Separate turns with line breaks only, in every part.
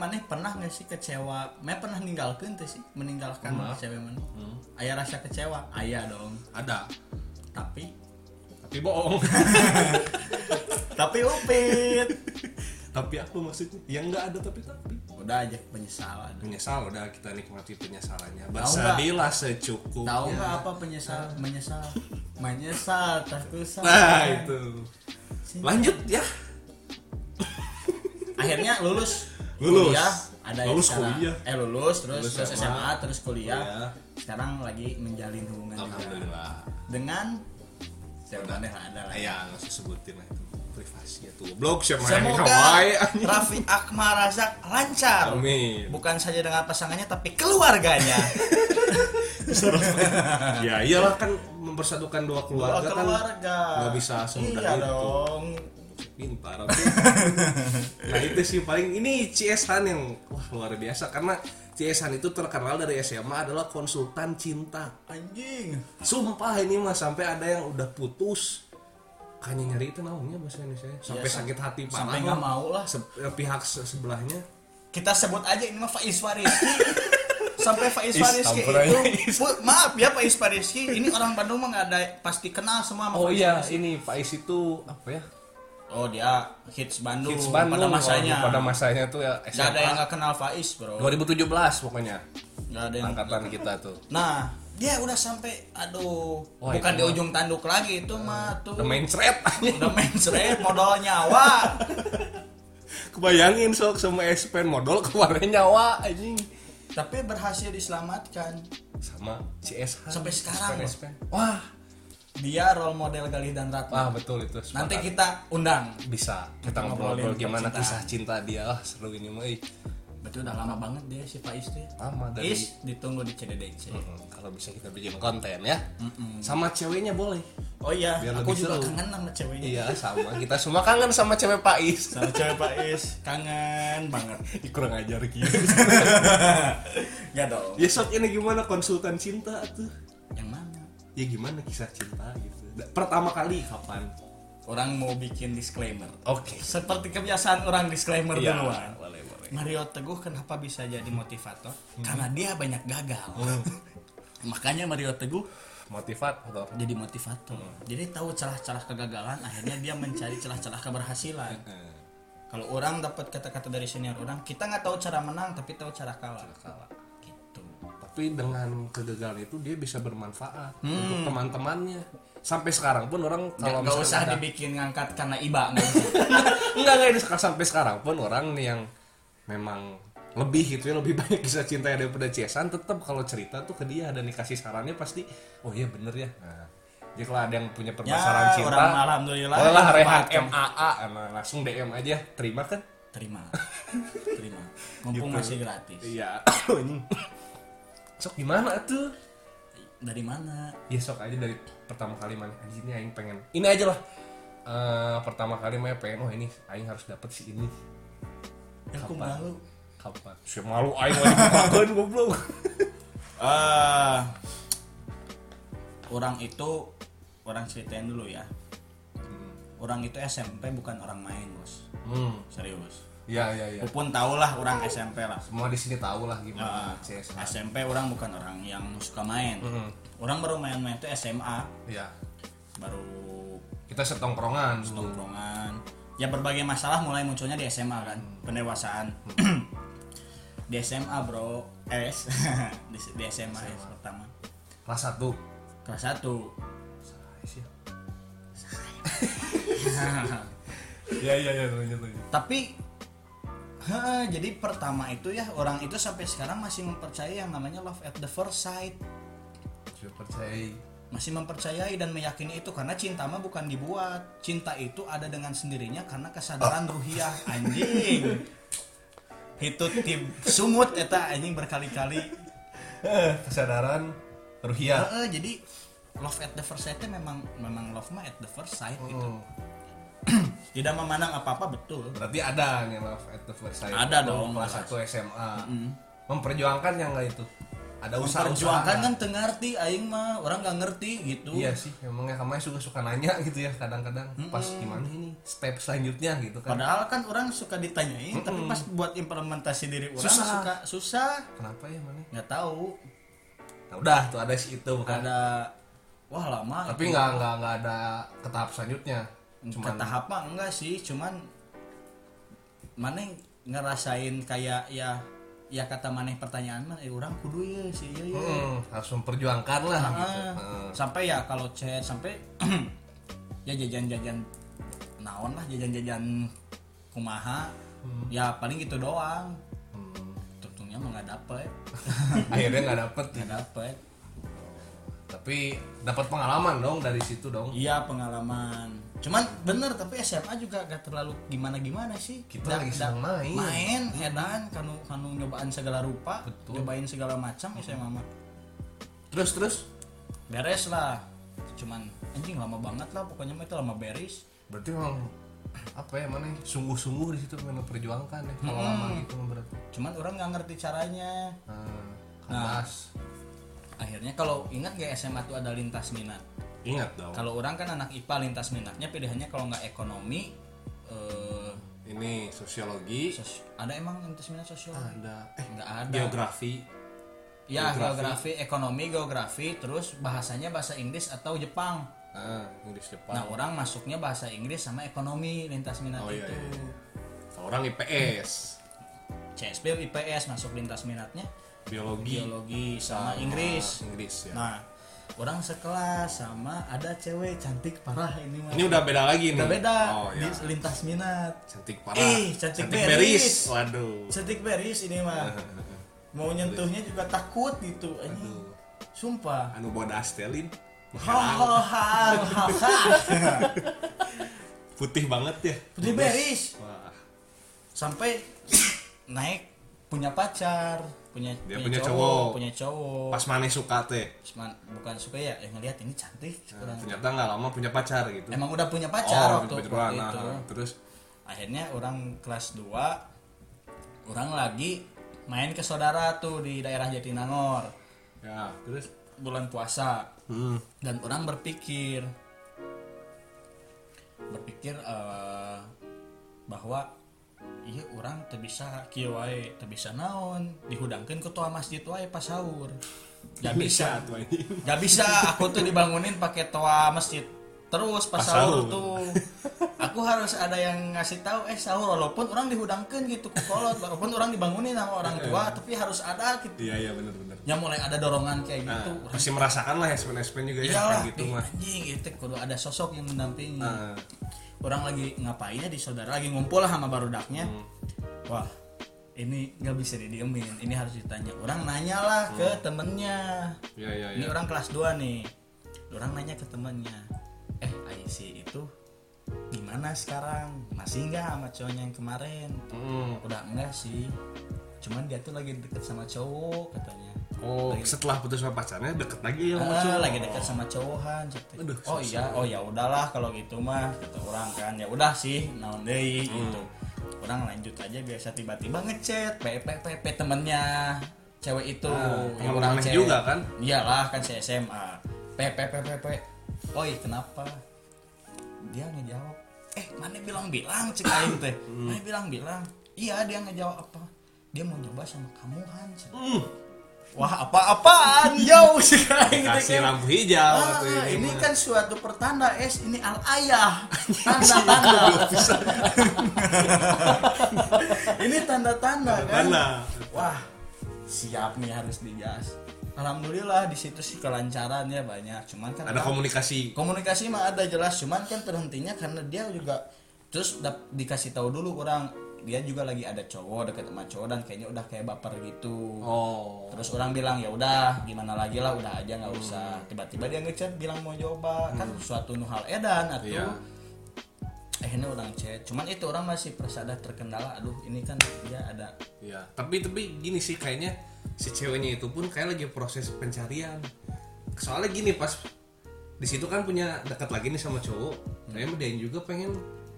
gak sih kecewa me pernah ninggalkan tuh sih meninggalkan
Pernah.
cewek mana
Hmm.
ayah rasa kecewa ayah dong
ada
tapi
tapi bohong
tapi upit
tapi aku maksudnya yang nggak ada tapi tapi
udah aja penyesalan
menyesal udah kita nikmati penyesalannya
nggak?
bersedihlah secukupnya
tahu nggak apa penyesal menyesal menyesal tertusuk
nah itu lanjut ya
akhirnya lulus
Lulus.
kuliah, ada
Lulus
sekarang.
kuliah.
eh lulus terus
Lulus
terus
SMA,
SMA, terus kuliah
kuliah.
sekarang lagi menjalin hubungan juga
alhamdulillah
dengan cewek mana yang ada lah
ayah Ya, nggak usah sebutin lah itu privasi ya tuh blog siapa yang
Semoga
kawaii anjing.
Raffi Akmal Razak lancar.
Amin.
Bukan saja dengan pasangannya tapi keluarganya.
ya iyalah kan mempersatukan dua
Dua Oh,
keluarga,
keluarga.
kan nggak bisa semudah
iya
itu
dong.
pintar aku. nah itu sih paling ini CS Han yang wah luar biasa karena CS Han itu terkenal dari SMA adalah konsultan cinta
Anjing.
sumpah ini mah sampai ada yang udah putus hanya nyari itu namanya bahasa Indonesia ya. sampai
sam-
sakit hati parah
Iya, sampai
lah.
nggak mau lah.
Se- eh, pihak se- sebelahnya
Kita sebut aja ini mah Faiz Fariski. Sampai Faiz
Is,
Fariski
campur aja.
itu Bu, maaf ya Faiz Fariski ini orang Bandung mah nggak ada pasti kenal semua sama
oh
Faiz
iya
Fariski.
ini Pak Is itu apa ya
Oh dia hits Bandung,
Hits Bandung
pada masanya.
Waduh, pada masanya tuh ya
Nggak ada
SMA.
yang nggak kenal Faiz, Bro.
2017 pokoknya
Nggak ada yang
angkatan kita tuh
Nah, dia udah sampai aduh,
Wah,
bukan
itu
di
mah.
ujung tanduk lagi itu mah tuh.
udah main thread
Udah mencret modal nyawa.
kebayangin sok sama X-Pen modal keluarnya nyawa anjing
Tapi berhasil diselamatkan.
sama CSH
Sampai sekarang, loh.
X-Pen. wah
Dia role model Galih dan
wah
Ratna.
betul itu sepakat.
Nanti kita undang.
bisa kita
ngobrolin
ngobrol gimana
percintaan.
kisah cinta dia ah seru ini mah ih.
Betul udah lama banget dia si Faiz tuh. ya.
lama dari
Is ditunggu di CDDC.
Mm, kalau bisa kita bikin konten ya sama ceweknya boleh
Oh iya,
Biar
aku
lebih
juga
seru.
kangen sama ceweknya.
iya sama kita semua kangen sama cewek Pak Is
Sama cewek Faiz, kangen banget.
Ih, kurang ajar gitu
Ya dong.
ya sok ini gimana konsultan cinta tuh
Yang mana?
ya gimana kisah cinta gitu Da- pertama kali kapan
Orang mau bikin disclaimer.
oke
Seperti kebiasaan orang disclaimer
Iya,
duluan.
boleh boleh
Mario Teguh kenapa bisa jadi motivator?
Hmm.
Karena dia banyak gagal.
Oh.
Makanya Mario Teguh
motivat atau
jadi motivator.
Hmm.
Jadi tahu celah-celah kegagalan, akhirnya dia mencari celah-celah keberhasilan. Kalau orang dapat kata-kata dari senior orang, kita nggak tahu cara menang, tapi tahu cara kalah.
kalah
Gitu.
tapi dengan kegagalan itu dia bisa bermanfaat untuk teman-temannya sampai sekarang pun orang
Hmm. Nggak
kalau
nggak usah
misalkan ada-
dibikin ngangkat karena iba. nggak usah.
enggak enggak ini sek- sampai sekarang pun orang nih yang memang lebih gitu ya lebih banyak kisah cinta daripada ciesan tetap kalau cerita tuh ke dia dan dikasih sarannya pasti oh iya bener ya nah, jadi kalau ada yang punya permasalahan
Ya,
cinta
orang alhamdulillah.
boleh lah
yang
rehat
manfaatkan.
MAA Nah, langsung DM aja terima kan
Terima. Terima. Mumpung
Gitu.
masih gratis.
iya sok gimana tuh
Dari mana?
ya sok aja dari pertama kali mana anjing, ini aing pengen ini aja lah Eh, pertama kali mah pengen oh ini aing harus dapet si ini
Ya, aku
Kapan?
malu.
kapan si malu aing lagi bukan goblok
eh orang itu orang ceritain dulu ya. Orang itu SMP bukan orang main bos,
hmm
serius.
ya ya ya
Pupun tau lah orang SMP lah.
semua di sini tahu lah gimana
Ah,
CS
SMP orang bukan orang yang suka main.
Mm.
Orang baru main-main itu SMA,
ya
baru
kita setongkrongan dulu
tongkrongan. Ya berbagai masalah mulai munculnya di SMA kan,
Hmm.
pendewasaan. di SMA bro, eh, di, di SMA, ya, pertama.
kelas satu
Kelas 1
ya ya ya lanjut lanjut
tapi ha, jadi pertama itu ya orang itu sampai sekarang masih mempercayai yang namanya love at the first sight
Coba percaya
masih mempercayai dan meyakini itu karena cinta mah bukan dibuat cinta itu ada dengan sendirinya karena
Ah.
kesadaran ruhiah anjing itu tim sumut eta anjing berkali-kali
Eh, kesadaran ruhiah
Heeh, jadi love at the first sight memang memang love mah at the first sight gitu.
Hmm.
tidak memandang apa apa betul
berarti ada yang love at the first sight
Ada
Itu
dong,
kelas
jelas.
satu SMA memperjuangkan yang nggak itu ada usaha
memperjuangkan kan teu ngarti aing mah orang nggak ngerti gitu
Iya sih, emangnya kamu suka suka nanya gitu ya kadang-kadang pas gimana ini step selanjutnya gitu kan.
padahal kan orang suka ditanyain tapi pas buat implementasi diri orang
Susah.
suka susah
Kenapa ya mana?
nggak tahu
Nah, udah tuh ada si itu bukan.
ada wah lama gitu.
Tapi nggak nggak nggak ada ke tahap selanjutnya.
Ke
Cuman
tahap mah enggak sih, cuman maneh ngerasain kayak ya ya kata maneh pertanyaan mah eh orang kudu ya sih ya, ya.
mm, harus memperjuangkan lah
Ah,
gitu. Heeh.
sampai ya kalau chat sampai ya jajan-jajan naon lah jajan-jajan kumaha
Mm.
ya paling gitu doang
Hmm.
tentunya mah nggak dapet
Akhirnya nggak dapet.
nggak dapet
Tapi dapat pengalaman dong dari situ dong.
iya pengalaman cuman bener tapi SMA juga gak terlalu gimana gimana sih Da-
Kita
da-
lagi sedang main.
main edan kanu kanu nyobaan segala rupa
Betul.
nyobain segala macam ya saya mama
Terus terus
beres lah cuman anjing lama banget lah pokoknya mah itu lama beres
berarti memang apa ya mana sungguh-sungguh di situ memang perjuangkan ya
Hmm.
kalau lama gitu berarti.
cuman orang nggak ngerti caranya
Nah,
Nah.
kemas.
akhirnya kalau ingat ya, gak SMA tuh ada lintas minat
Nah, Ingat dong.
kalau orang kan anak IPA lintas minatnya pilihannya kalau nggak ekonomi eh,
Ini sosiologi,
sos- ada emang lintas minat sosial
ada eh
nggak ada
geografi
ya
Geografi.
geografi ekonomi geografi terus bahasanya bahasa Inggris atau Jepang
ah Inggris
Nah
Jepang
orang masuknya bahasa Inggris sama ekonomi lintas minat
Oh, iya,
Nah, itu.
iya, Kalau orang IPS
CSP IPS masuk lintas minatnya
biologi
biologi sama
Ah,
Inggris.
Inggris ya
Nah orang sekelas sama ada cewek cantik parah ini mah.
ini udah beda lagi nih
Udah beda
oh ya
di lintas minat.
cantik parah
Ih, cantik beris.
beris waduh
Cantik beris ini mah. Mau nyentuhnya juga takut gitu. Anjing.
Aduh.
Sumpah.
anu bodas telin
Hal hal hal hal.
putih banget ya
Putih
Bodas.
beris.
Wah,
sampai naik punya pacar punya
Dia punya cowok.
punya cowok
pas maneh suka teh
Cuman bukan suka ya yang ngelihat ini cantik
Nah,
kurang-
ternyata nggak lama punya pacar gitu
emang udah punya pacar
oh,
waktu,
punya pacar
waktu
doang.
itu
Nah, terus
akhirnya orang kelas 2 orang lagi main ke saudara tuh di daerah Jatinangor
ya terus
bulan puasa
hmm.
dan orang berpikir berpikir eh, bahwa iya orang teu bisa kieu wae teu bisa naon dihudangkeun ku toa masjid wae pas sahur gak bisa
tuh ini
gak bisa aku tuh dibangunin pakai toa masjid terus pas,
Pas
sahur,
sahur.
tuh aku harus ada yang ngasih tahu eh sahur walaupun orang dihudangkeun gitu ku kolot walaupun orang dibangunin sama orang tua tapi harus ada gitu
iya iya benar benar
ya mulai ada dorongan kayak
nah,
gitu Orang
masih merasakan lah SPN SPN juga ya
iyalah
kayak gitu
ih,
mah
Iya anjing itu kudu ada sosok yang mendampingi
Nah,
orang lagi ngapain ya di saudara lagi ngumpul lah sama barudaknya
Hmm.
wah ini nggak bisa didiemin ini harus ditanya orang nanyalah ke temennya
iya iya
ini
Hmm. iya
orang kelas 2 nih orang nanya ke temennya eh IC itu gimana sekarang masih nggak sama cowoknya yang kemarin
Hmm.
udah enggak sih cuman dia tuh lagi deket sama cowok katanya
Oh, setelah putus sama pacarnya deket lagi ya sama
Ah,
cowok.
lagi dekat sama cowokan ceteh.
Aduh,
oh iya oh ya udahlah kalau gitu mah kata orang kan ya udah sih naon deui
Hmm.
gitu orang lanjut aja biasa tiba-tiba ngechat pp pp temennya cewek itu
Ah,
yang
temen aneh
chat.
juga kan?
iyalah kan si SMA pp pp pp oi kenapa dia ngejawab eh mana bilang-bilang cek aing teh
Hmm.
mana bilang-bilang iya dia ngejawab apa dia mau nyoba sama kamu han cek.
Hmm.
Wah apa-apaan yo sekarang
Kasih lampu hijau
Ah,
atau ini.
ini
mah.
kan suatu pertanda es ini al ayah tanda-tanda ini tanda-tanda kan
Tanda.
wah siap nih harus digas alhamdulillah di situ sih kelancarannya banyak cuman kan
Ada
orang-
komunikasi.
komunikasi mah ada jelas cuman kan terhentinya karena dia juga terus dap- dikasih tahu dulu orang dia juga lagi ada cowok deket sama cowok dan kayaknya udah kayak baper gitu
Oh.
terus orang bilang ya udah gimana lagi lah udah aja nggak usah tiba-tiba dia ngechat bilang mau coba kan suatu nu hal edan atuh
Iya.
akhirnya orang chat cuman itu orang masih persada terkendala aduh ini kan dia ada
Iya. Tapi tapi gini sih kayaknya si ceweknya itu pun kayak lagi proses pencarian. Soalnya gini pas di situ kan punya dekat lagi nih sama cowok. Kayaknya dia juga pengen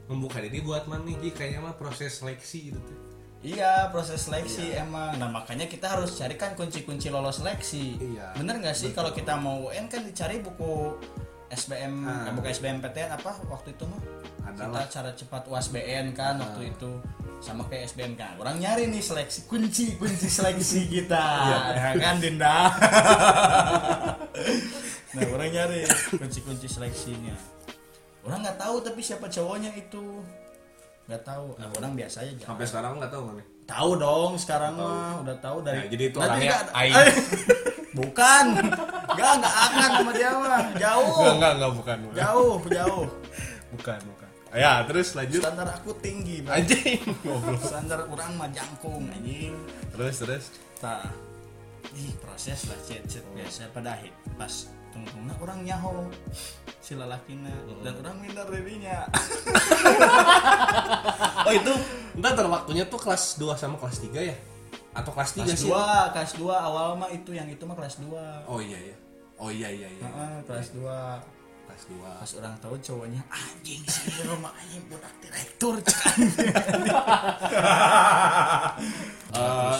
membuka diri buat mani. Jadi kayaknya mah proses seleksi gitu tuh.
Iya proses seleksi emang Nah makanya kita harus carikan kunci-kunci lolos seleksi
Iya.
Bener nggak sih kalau kita mau UN kan dicari buku SBM
Ah.
eh, bukan SBMPTN apa waktu itu mah
Adalah.
kita cara cepat UASBN
Ah.
kan waktu itu sama kayak SBM kan orang nyari nih seleksi kunci kunci seleksi kita
Iya.
ya kan Dinda nah orang nyari kunci-kunci seleksinya orang nggak tahu tapi siapa cowoknya itu nggak tahu nah, orang biasa aja
sampai sekarang nggak tahu nggak nih
Tahu dong sekarang mah udah tahu dari.
Ya, jadi itu
Nanti
orangnya
nggak- Eh,
Aing.
Bukan. Enggak, enggak akan sama dia mah. Jauh.
nggak nggak nggak bukan bukan
Jauh, jauh.
bukan bukan ya terus lanjut
Standar aku tinggi, Bang.
anjing goblok
Standar orang mah jangkung anjing.
terus terus
Tah. Ih, proses lah cet cet biasa pada akhir pas tungtungna orang nyaho si lalakina
Hmm.
dan orang minder dirinya.
oh itu ntar waktunya tuh kelas 2 sama kelas 3 ya atau kelas 3
kelas
sih
2, kelas 2 awal mah itu yang itu mah kelas 2.
oh iya iya oh iya iya iya
Heeh, kelas 2.
kelas 2
pas orang tahu cowoknya anjing sih di rumah anjing budak direktur Cak." Eh,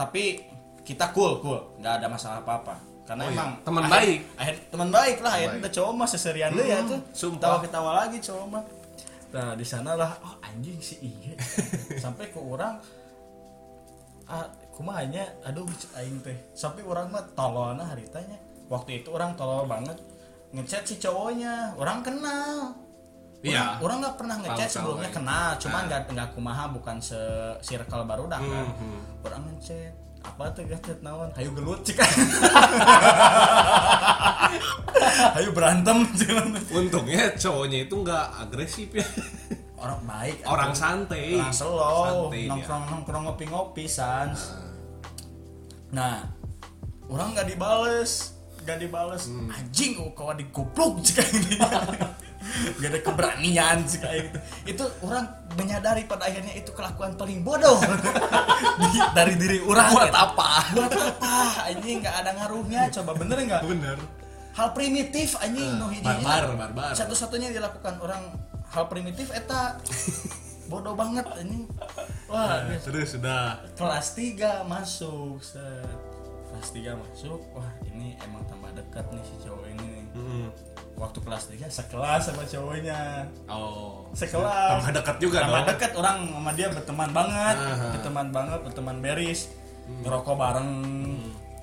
tapi kita cool cool nggak ada masalah apa apa karena
Oh, iya.
emang
Teman
akhir-
baik.
akhir teman baik lah akhirnya udah cowok mah seserian deh ya tuh
sumpah.
tawa ketawa lagi cowok mah nah di sanalah oh anjing sih iya sampai ke orang ah, kumaha nya, aduh aing teh sampai orang mah tolona haritanya waktu itu orang tolol banget ngechat si cowoknya orang kenal
Iya.
Orang- orang nggak pernah ngechat
Tahu, tahu,
sebelumnya
aing.
kenal cuman nggak nggak kumaha bukan se circle baru dah kan
Mhm.
orang ngechat apa tuh ngechat naon hayu gelut cik hayu berantem cik.
untungnya cowoknya itu nggak agresif ya
orang baik
orang santai
Nah, slow,
Iya, Santai ya. dia.
nongkrong nongkrong ngopi ngopi sans. Nah, orang nggak dibales, nggak dibales. Anjing, oh, kawan digoblok jika ini. Gak ada keberanian sih kayak gitu. Itu orang menyadari pada akhirnya itu kelakuan paling bodoh Di- dari diri orang. Buat apa? Buat apa? Anjing nggak ada ngaruhnya. Coba bener nggak?
bener
hal primitif anjing
Ah,
nu hiji
barbar, barbar.
satu-satunya dilakukan orang hal primitif eta bodoh banget anjing wah
Nah, terus sudah
kelas 3 masuk set. kelas 3 masuk wah ini emang tambah dekat nih si cowok ini nih.
Mm.
waktu kelas 3 sekelas sama cowoknya
oh
sekelas
tambah dekat juga
tambah
dong
dekat orang sama dia berteman banget
Aha. Hmm.
berteman banget berteman beris ngerokok bareng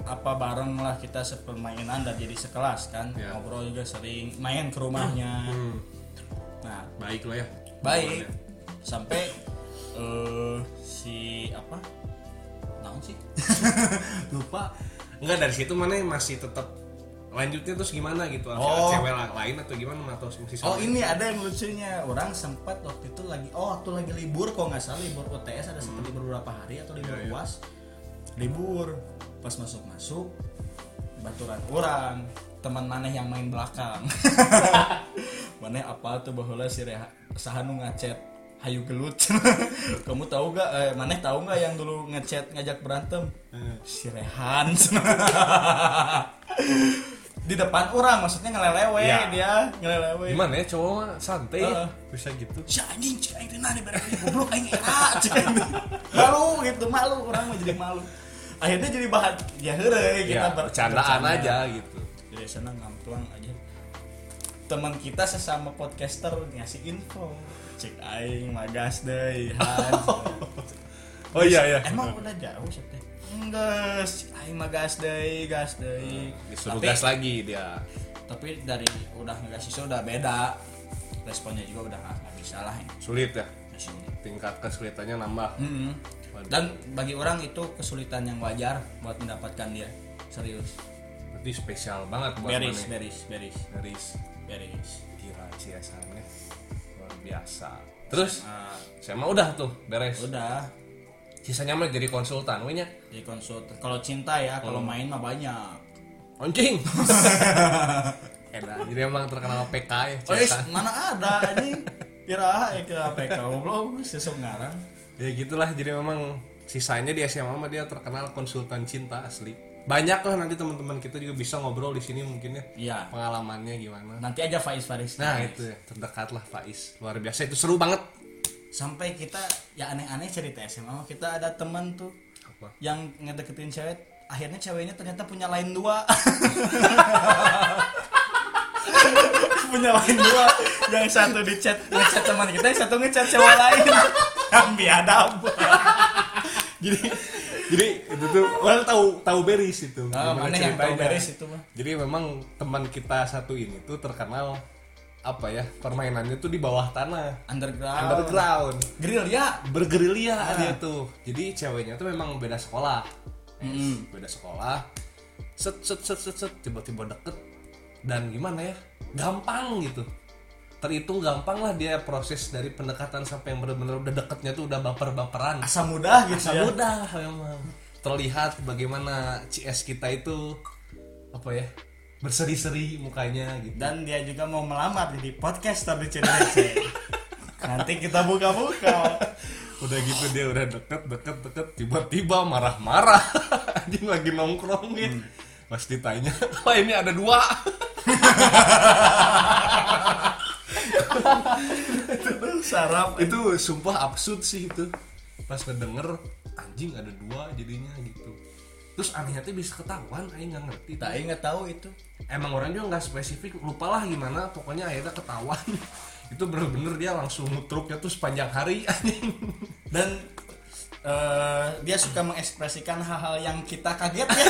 apa bareng lah kita sepermainan dan jadi sekelas kan
Ya.
ngobrol juga sering main ke rumahnya
Hmm,
nah
baik lah ya
baik sampai eh, si apa naon sih
lupa enggak dari situ mana yang masih tetap lanjutnya terus gimana gitu
Oh.
oh. cewek la- lain atau gimana atau masih sama?
Oh ini ada yang lucunya orang sempat waktu itu lagi oh waktu lagi libur kok nggak salah libur UTS ada seperti beberapa hari atau libur
Hmm. Iya, iya.
uas libur pas masuk masuk baturan orang teman maneh yang main belakang maneh apa tuh bahwa si Reha sahanu ngechat hayu gelut kamu tahu gak eh, maneh tahu nggak yang dulu ngechat ngajak berantem
Eh.
si Rehan di depan orang maksudnya ngelelewe
Iya.
dia ngelelewe
gimana ya cowok mah santai ya.
Heeh.
bisa gitu
si anjing cik aing tina nih berarti goblok aing era cik aing malu gitu malu orang mah jadi malu akhirnya jadi bahan ya heureuy kita
ya
ber-
bercandaan
bercanda. Ya,
aja gitu
jadi sana ngamplang aja teman kita sesama podcaster ngasih info cik aing magas deui Hans
oh iya iya
emang udah jauh sih teh enggak cik aing magas deui gas deui
Hmm, disuruh
Tapi-
gas lagi dia
tapi dari udah ngasih sih udah beda responnya juga udah nggak nggak bisa lah ini
sulit ya
Masih-
tingkat kesulitannya nambah
Mm-mm.
Waduh.
Dan bagi orang itu kesulitan yang wajar buat mendapatkan dia. Serius.
berarti spesial banget buat
Beris,
mana
beris, beris,
beris
beris.
gila siasannya luar biasa terus
Nah,
saya mah udah tuh beres
udah
sisanya mah jadi konsultan wehnya
jadi konsultan. Kalau cinta ya, kalau main mah banyak.
Anjing. Enak. Jadi emang terkenal PK ya.
Oh, is,
Cesa.
mana ada ini? Kira ya kira PK belum sesok ngarang.
Ya gitulah. Jadi memang sisanya di SMA mah dia terkenal konsultan cinta asli. Banyak lah nanti teman-teman kita juga bisa ngobrol di sini mungkin ya.
Iya. Nah,
Pengalamannya gimana?
Nanti aja Faiz Faris.
Nah itu ya terdekat lah Faiz. Luar biasa itu seru banget.
sampai kita ya aneh-aneh cerita SMA mah. kita ada teman tuh
Apa?
yang ngedeketin cewek akhirnya ceweknya ternyata punya lain dua punya lain dua yang satu di chat ngechat teman kita yang satu ngechat cewek lain yang biadab
jadi jadi itu tuh orang tahu tahu beris itu
Ah,
Gimana
mana yang tahu
ceritanya.
beres itu mah
jadi memang teman kita satu ini tuh terkenal apa ya permainannya tuh di bawah tanah
underground,
underground
grill ya
bergerilya dia tuh jadi ceweknya tuh memang beda sekolah Eh, beda sekolah set set set set set tiba-tiba deket dan gimana ya gampang gitu terhitung gampang lah dia proses dari pendekatan sampai yang bener-bener udah deketnya tuh udah baper-baperan
asa mudah gitu
Asal
ya
mudah memang terlihat bagaimana CS kita itu apa ya berseri-seri mukanya gitu
dan dia juga mau melamar di podcaster di channel nanti kita buka-buka
udah gitu dia udah deket deket deket tiba-tiba marah-marah anjing lagi nongkrong gitu pas ditanya wah ini ada dua
sarap
itu sumpah absurd sih itu pas ngedenger anjing ada dua jadinya gitu terus anehnya tuh bisa ketahuan Aing nggak ngerti
tak ingat tahu itu
emang orang juga nggak spesifik lupalah gimana pokoknya akhirnya ketahuan itu bener-bener dia langsung mutruknya tuh sepanjang hari anjing
dan eh, dia suka mengekspresikan hal-hal yang kita kaget ya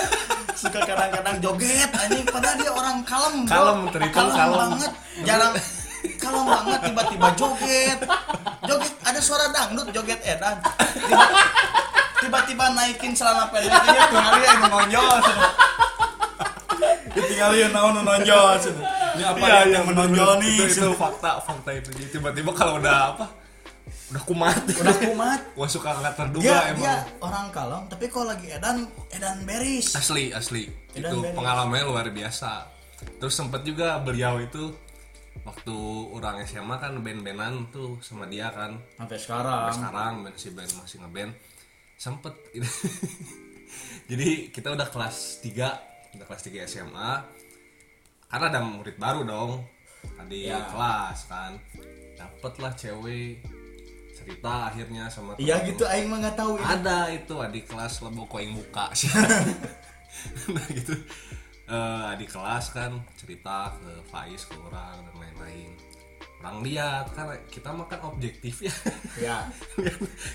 suka kadang-kadang joget anjing padahal dia orang kalem bro.
Kalem, terhitung kalem.
banget jarang kalem banget tiba-tiba joget joget ada suara dangdut joget edan Tiba- tiba-tiba naikin celana pendeknya tinggal dia yang menonjol Dia tinggal dia naon menonjol ini apa
Iya,
yang menonjol nih
itu, itu fakta fakta itu Jadi tiba-tiba kalau udah apa udah kumat
udah kumat
wah suka nggak terduga
dia
emang
dia orang kalem tapi kalau lagi edan edan beris
asli asli
Edan
itu
beres.
pengalamannya luar biasa terus sempet juga beliau itu waktu orang SMA kan band-bandan tuh sama dia kan
sampai
Sampai
sekarang
sekarang band si band masih ngeband sempet jadi kita udah kelas 3 udah kelas 3 SMA karena ada murid baru dong tadi
Ya.
kelas kan dapatlah cewek cerita akhirnya sama
iya
temen.
gitu aing mah nggak tahu ya.
ada itu adik kelas lebok koing buka sih nah gitu Eh, adik kelas kan cerita ke Faiz ke orang dan lain-lain orang lihat kan kita makan objektif ya
ya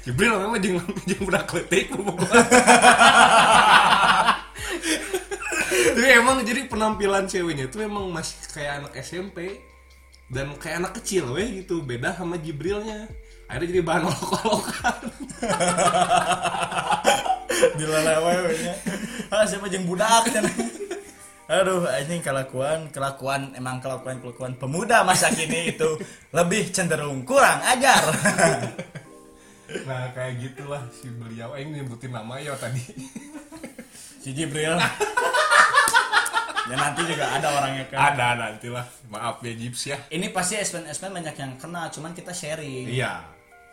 Jibril namanya jeung jeung budak kletik bobogoh. Tapi emang jadi penampilan ceweknya itu emang masih kayak anak SMP dan kayak anak kecil weh gitu, beda sama Jibrilnya. Akhirnya jadi bahan olok-olokan.
dilelewehnya ah siapa jeung budak cenah. aduh anjing kelakuan kelakuan emang kelakuan kelakuan pemuda masa kini itu lebih cenderung kurang ajar
Nah, kayak gitulah si beliau. Aing nyebutin nama ya tadi.
si Jibril ya nanti juga ada orangnya kan
Ada nantilah. Maaf ya Jips ya.
ini pasti SPN SPN banyak yang kena cuman kita sharing
Iya.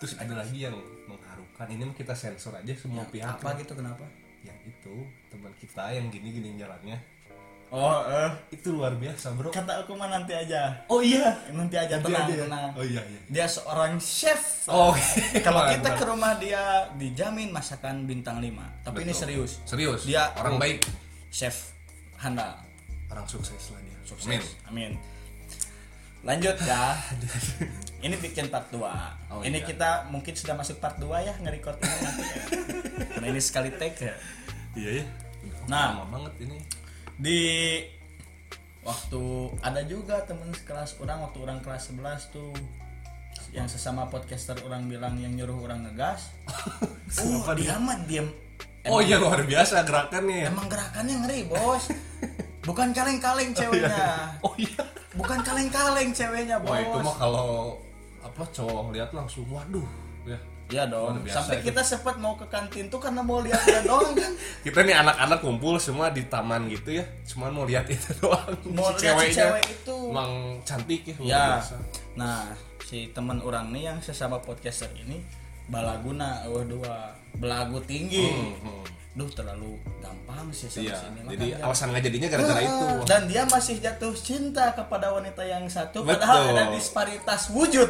Terus ada lagi yang mengharukan. Ini mah kita sensor aja semua pihak.
apa gitu kenapa
Yang itu teman kita yang gini-gini jalannya.
oh eh.
itu luar biasa bro
kata aku mah nanti aja
oh iya
nanti aja tenang tenang
oh iya iya
dia seorang chef
oh iya.
kalau kita ke rumah dia dijamin masakan bintang 5 tapi ini serius
serius
Dia-
orang baik
chef handal
orang sukses lah dia
sukses amin lanjut ya ini bikin part 2
Oh,
ini
iya.
kita mungkin sudah masuk part 2 ya nge-record ini nanti ya. karena ini sekali take ya.
iya ya
nah
lama banget ini
di waktu ada juga temen sekelas orang waktu orang kelas 11 tuh yang sesama podcaster orang bilang yang nyuruh orang ngegas oh dia mah diem
oh iya luar biasa gerakannya ya
emang gerakannya ngeri bos bukan kaleng-kaleng ceweknya
oh iya
bukan kaleng-kaleng ceweknya bos
wah itu mah kalau apa cowok lihat langsung waduh ya
Iya dong,
Luar biasa
sampai
itu.
kita sempat mau ke kantin tuh karena mau lihat dia doang kan.
kita nih anak-anak kumpul semua di taman gitu ya cuman mau lihat itu doang
Mau
Si
lihat si cewek itu.
emang cantik ya luar
Ya.
biasa.
Nah, si teman orang nih yang sesama podcaster ini balaguna eueuh dua belagu tinggi.
Hmm.
duh terlalu gampang sih sama
Iya,
si ini. Makanya Ah.
jadi
dia-
alasan nggak jadinya gara-gara itu.
dan dia masih jatuh cinta kepada wanita yang satu
Betul.
padahal ada disparitas wujud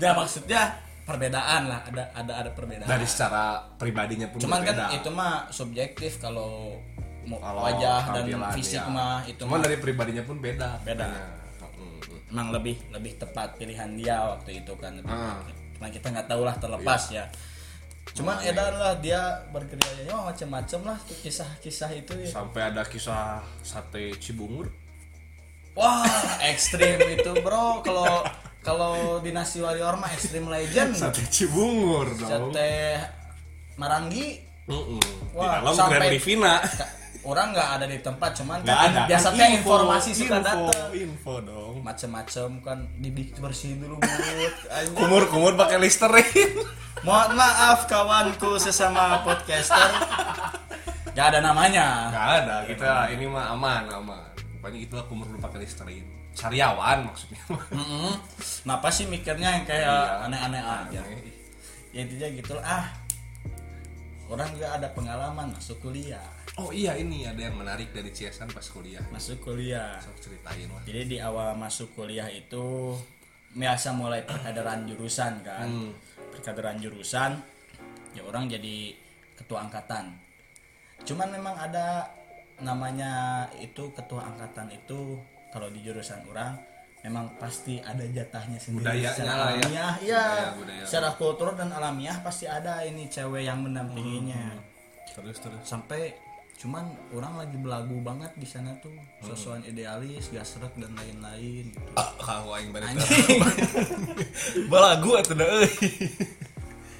ya maksudnya perbedaan lah ada ada ada perbedaan
Dari secara pribadinya pun
cuman
berbeda.
kan itu mah subjektif kalau mau
Kalau
wajah dan
tampilan,
fisik
ya.
mah itu
Cuman
mah
dari pribadinya pun beda.
Beda.
Ya. Mm, mm.
emang lebih lebih tepat pilihan dia waktu itu kan lebih
Ah. Iya.
tepat. Nah, kita nggak tahu lah terlepas ya cuman edan lah dia bergerilanya wah, macem-macem lah tuh kisah-kisah itu ya.
Sampai ada kisah sate Cibungur.
Wah, ekstrim itu bro. Kalau kalau dinasti warrior mah ekstrim legend.
Sate Cibungur dong.
Sate Marangi.
Mm-mm. Di
Wah,
dalam
sampai-
Grand Rivina.
Ka- Orang nggak ada di tempat, cuman
Nggak
kan
ada.
biasa
Kan
teh
info,
informasi suka
info,
datang.
Info dong.
Macem-macem kan didik bersihin dulu mulut. Anjing.
Kumur-kumur pakai Listerine.
Mohon maaf kawanku sesama podcaster. Gak ada namanya.
Gak ada, kita ini mah aman, aman. Pokoknya itulah kumur lu pakai Listerine. Sariawan maksudnya.
Mm-mm. Kenapa sih mikirnya yang kayak aneh-aneh aja?
Iya.
ya intinya gitu lah, ah orang juga ada pengalaman masuk kuliah
Oh iya ini ada yang menarik dari Ciesan pas kuliah.
masuk kuliah
Sok ceritain lah.
jadi di awal masuk kuliah itu biasa mulai perkaderan jurusan kan
Hmm.
perkaderan jurusan ya orang jadi ketua angkatan cuman memang ada namanya itu ketua angkatan itu kalau di jurusan orang memang pasti ada jatahnya sendiri
Budayanya
secara
lah ya.
alamiah ya
Budaya, budaya.
secara kultur dan alamiah pasti ada ini cewek yang mendampinginya
Hmm. Terus terus.
sampai cuman orang lagi belagu banget di sana tuh
Hmm.
sosokan idealis gasrek dan lain-lain gitu.
Ah, kau aing bari
anjing
Balagu atuh deui.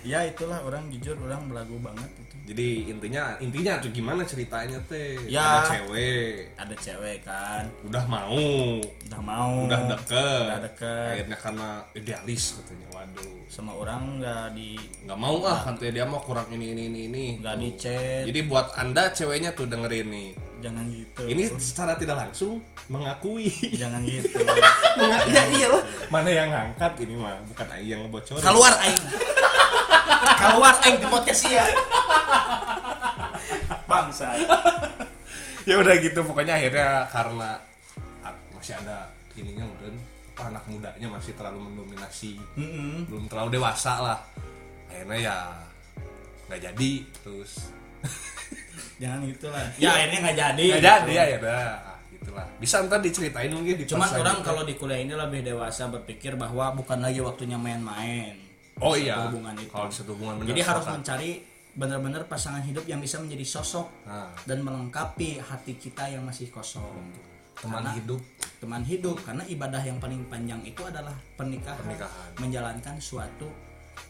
ya itulah orang jujur orang belagu banget itu
Jadi intinya intinya tuh gimana ceritanya teh?
Ya.
Ada cewek
ada cewek kan
udah mau,
udah mau
udah deket.
Hmm. udah deket.
Akhirnya karena idealis katanya. Waduh.
sama orang nggak di
nggak mau ah katanya dia mau kurang ini ini ini ini
nggak di chat
jadi buat anda ceweknya tuh dengerin nih
jangan gitu
ini secara tidak langsung mengakui
jangan gitu
ya iyalah mana yang ngangkat ini mah bukan Aing yang ngebocorin
keluar aing keluar aing di podcast ya bangsa
ya udah gitu pokoknya akhirnya karena ah, masih ada ininya mungkin apa, anak mudanya masih terlalu mendominasi
Mm-mm.
belum terlalu dewasa lah akhirnya ya nggak jadi terus
jangan gitulah ya akhirnya nggak jadi
Iya. nggak jadi akhirnya ah, gitulah bisa ntar diceritain mungkin di
iya. Cuman
pas lagi.
orang kalau di kuliah ini lebih dewasa berpikir bahwa bukan lagi waktunya main-main.
Oh
Satu
iya.
hubungan itu.
Kalau di satu hubungan benar.
Jadi harus
sepakat.
mencari benar-benar pasangan hidup yang bisa menjadi sosok
Nah.
dan melengkapi hati kita yang masih kosong.
teman
Karena-
hidup.
Teman hidup karena ibadah yang paling panjang itu adalah pernikahan.
Pernikahan.
Menjalankan suatu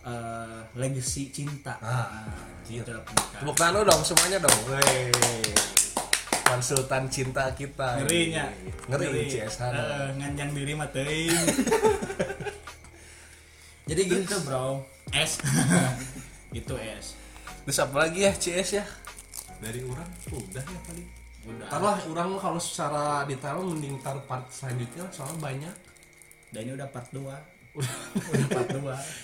eh, legacy cinta.
Ah,
itu
anjir.
adalah pernikahan.
Tepuk tangan lu dong semuanya dong. Wey. Konsultan cinta kita.
Ngerinya.
Ngeri, CS
Eh, nganjang diri mah teuing. Jadi gitu, Bro. Es. itu es.
Terus apa lagi ya CS ya? Dari orang udah ya paling.
Udah.
Ntar lah orang mah kalau secara detail mending tar part selanjutnya lah, soalnya banyak.
Dan ini udah part 2. udah part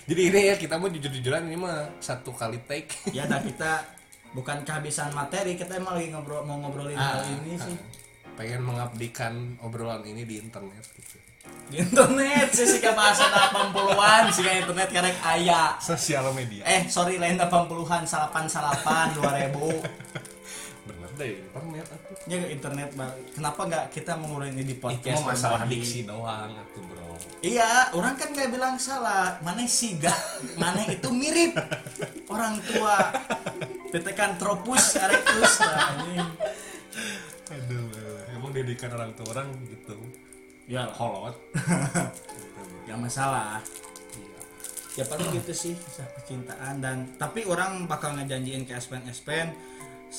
2.
Jadi ini ya kita mau jujur-jujuran ini mah satu kali take.
Ya dah kita bukan kehabisan materi, kita emang lagi ngobrol mau ngobrolin hal
Ah,
Ah, ini sih.
Pengen mengabdikan obrolan ini di internet gitu.
Di internet sih sih bahasa 80-an sih internet karek aya.
Sosial media.
Eh, sorry lain 80-an, salapan-salapan 2000.
Bener deh internet atuh.
Ya internet Bang. Kenapa nggak kita mengurangi ini di
Itu
podcast?
mah masalah
berbagi?
diksi doang tuh bro.
Iya, orang kan nggak bilang salah. Mana sih gak? Mana itu mirip orang tua. Tetekan tropus erectus Nah, lah, anjing.
Aduh, emang didikan orang tua orang gitu.
Ya,
Kolot.
nggak masalah. Ya paling gitu sih kisah percintaan dan tapi orang bakal ngejanjiin ke Espen Espen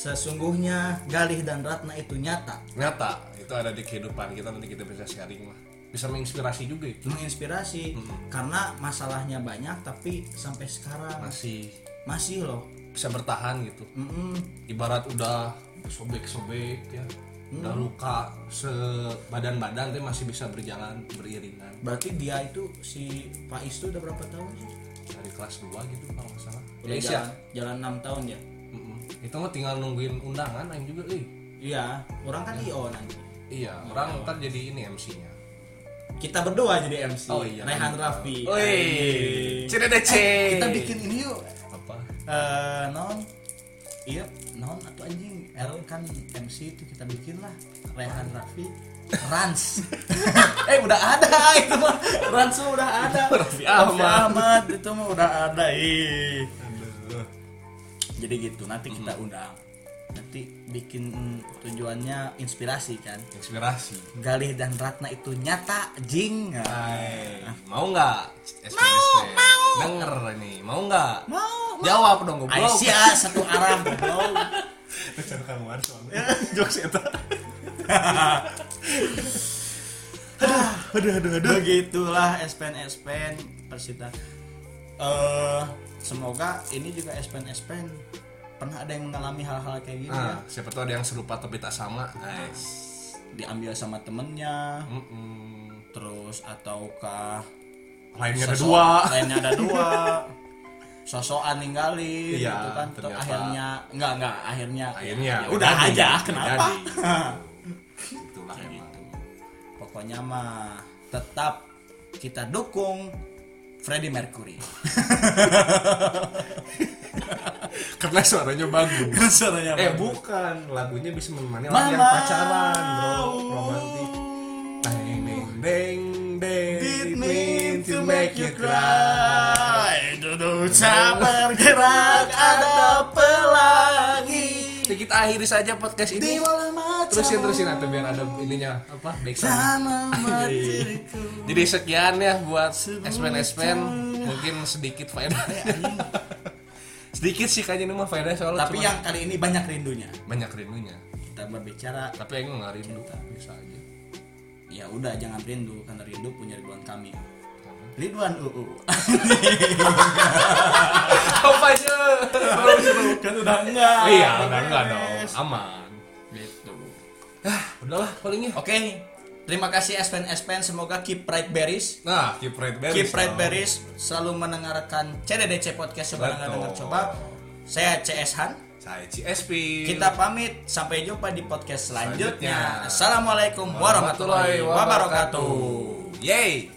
sesungguhnya Galih dan Ratna itu nyata
Nyata, itu ada di kehidupan kita nanti kita bisa sharing lah. Bisa menginspirasi juga ya. itu.
menginspirasi karena masalahnya banyak tapi sampai sekarang
Masih
masih loh
bisa bertahan gitu.
Mm-mm.
Ibarat udah sobek-sobek ya. Udah
Hmm.
luka sebadan-badan tapi masih bisa berjalan beriringan.
Berarti dia itu si Faiz itu udah berapa tahun sih?
dari kelas 2 gitu kalau nggak salah
udah
Iya,
jalan jalan enam tahun ya
Mm-mm. itu mah tinggal nungguin undangan aing juga ih
iya orang kan io nanti
iya orang ntar jadi ini MC nya
kita berdua jadi MC
Oh, iya.
Rehan Raffi
Wih,
Anjing.
cedece.
Iya. Eh, kita bikin ini yuk
apa
eh non iya non atau anjing Erl kan MC itu kita bikin lah Rehan Raffi Rans eh udah ada itu mah Rans mah udah ada
Raffi
Raffi
Ahmad.
Ahmad itu mah udah ada ih jadi gitu nanti kita undang nanti bikin mm, tujuannya inspirasi kan
inspirasi
Galih dan Ratna itu nyata jing
Hai, Ah, mau nggak mau mau denger ini mau nggak
mau
jawab dong goblok
Aisyah ah, satu arah goblok.
pacar kamu harus jokes ya, eta
aduh aduh aduh begitulah S-Pen S-Pen Persita eh semoga ini juga S-Pen S-Pen pernah ada yang mengalami hal-hal kayak gini ya
nah siapa tahu ada yang serupa tapi tak sama guys
diambil sama temennya terus ataukah
lainnya ada
sosok-
dua
lainnya ada dua sosokan ninggalin
Iya,
gitu kan Ter-
ternyata.
akhirnya enggak enggak akhirnya
akhirnya
ya udah
jadi. Gitu,
aja kenapa gitu.
Jadi. itulah emang
pokoknya mah tetap kita dukung Freddie Mercury
karena suaranya bagus
Kan Suaranya
eh
bagus.
bukan lagunya bisa menemani
Mama.
orang yang pacaran bro romantis Deng, deng, deng, deng,
Did mean to make you cry Duduk tak bergerak ada pelangi
Kita akhiri saja podcast
Di
ini.
malam macan
Terusin terusin atau biar ada ininya apa? backsound.
Sama matiriku
Jadi sekian ya buat Espen Espen mungkin sedikit faedah. sedikit sih kayaknya ini mah faedah soalnya
Tapi ya.
cuma
yang kali ini banyak rindunya
banyak rindunya.
Kita berbicara
Tapi aku nggak rindu bisa aja.
Ya udah jangan rindu Karena rindu punya Ridwan kami Ridwan uh, UU
Apa aja?
Kan udah enggak
Iya, udah enggak dong. Aman. Ah,
Gitu
Udahlah ya. palingnya.
Oke Terima kasih Espen Espen Semoga keep right berries
Nah, keep right berries.
Keep Right
dong.
Beris selalu mendengarkan CDDC Podcast Coba
Betul.
Dengar Coba. Saya CS Han.
Saya CSP.
Kita pamit. Sampai jumpa di podcast selanjutnya.
Selanjutnya.
Assalamualaikum warahmatullahi wabarakatuh.
Yay!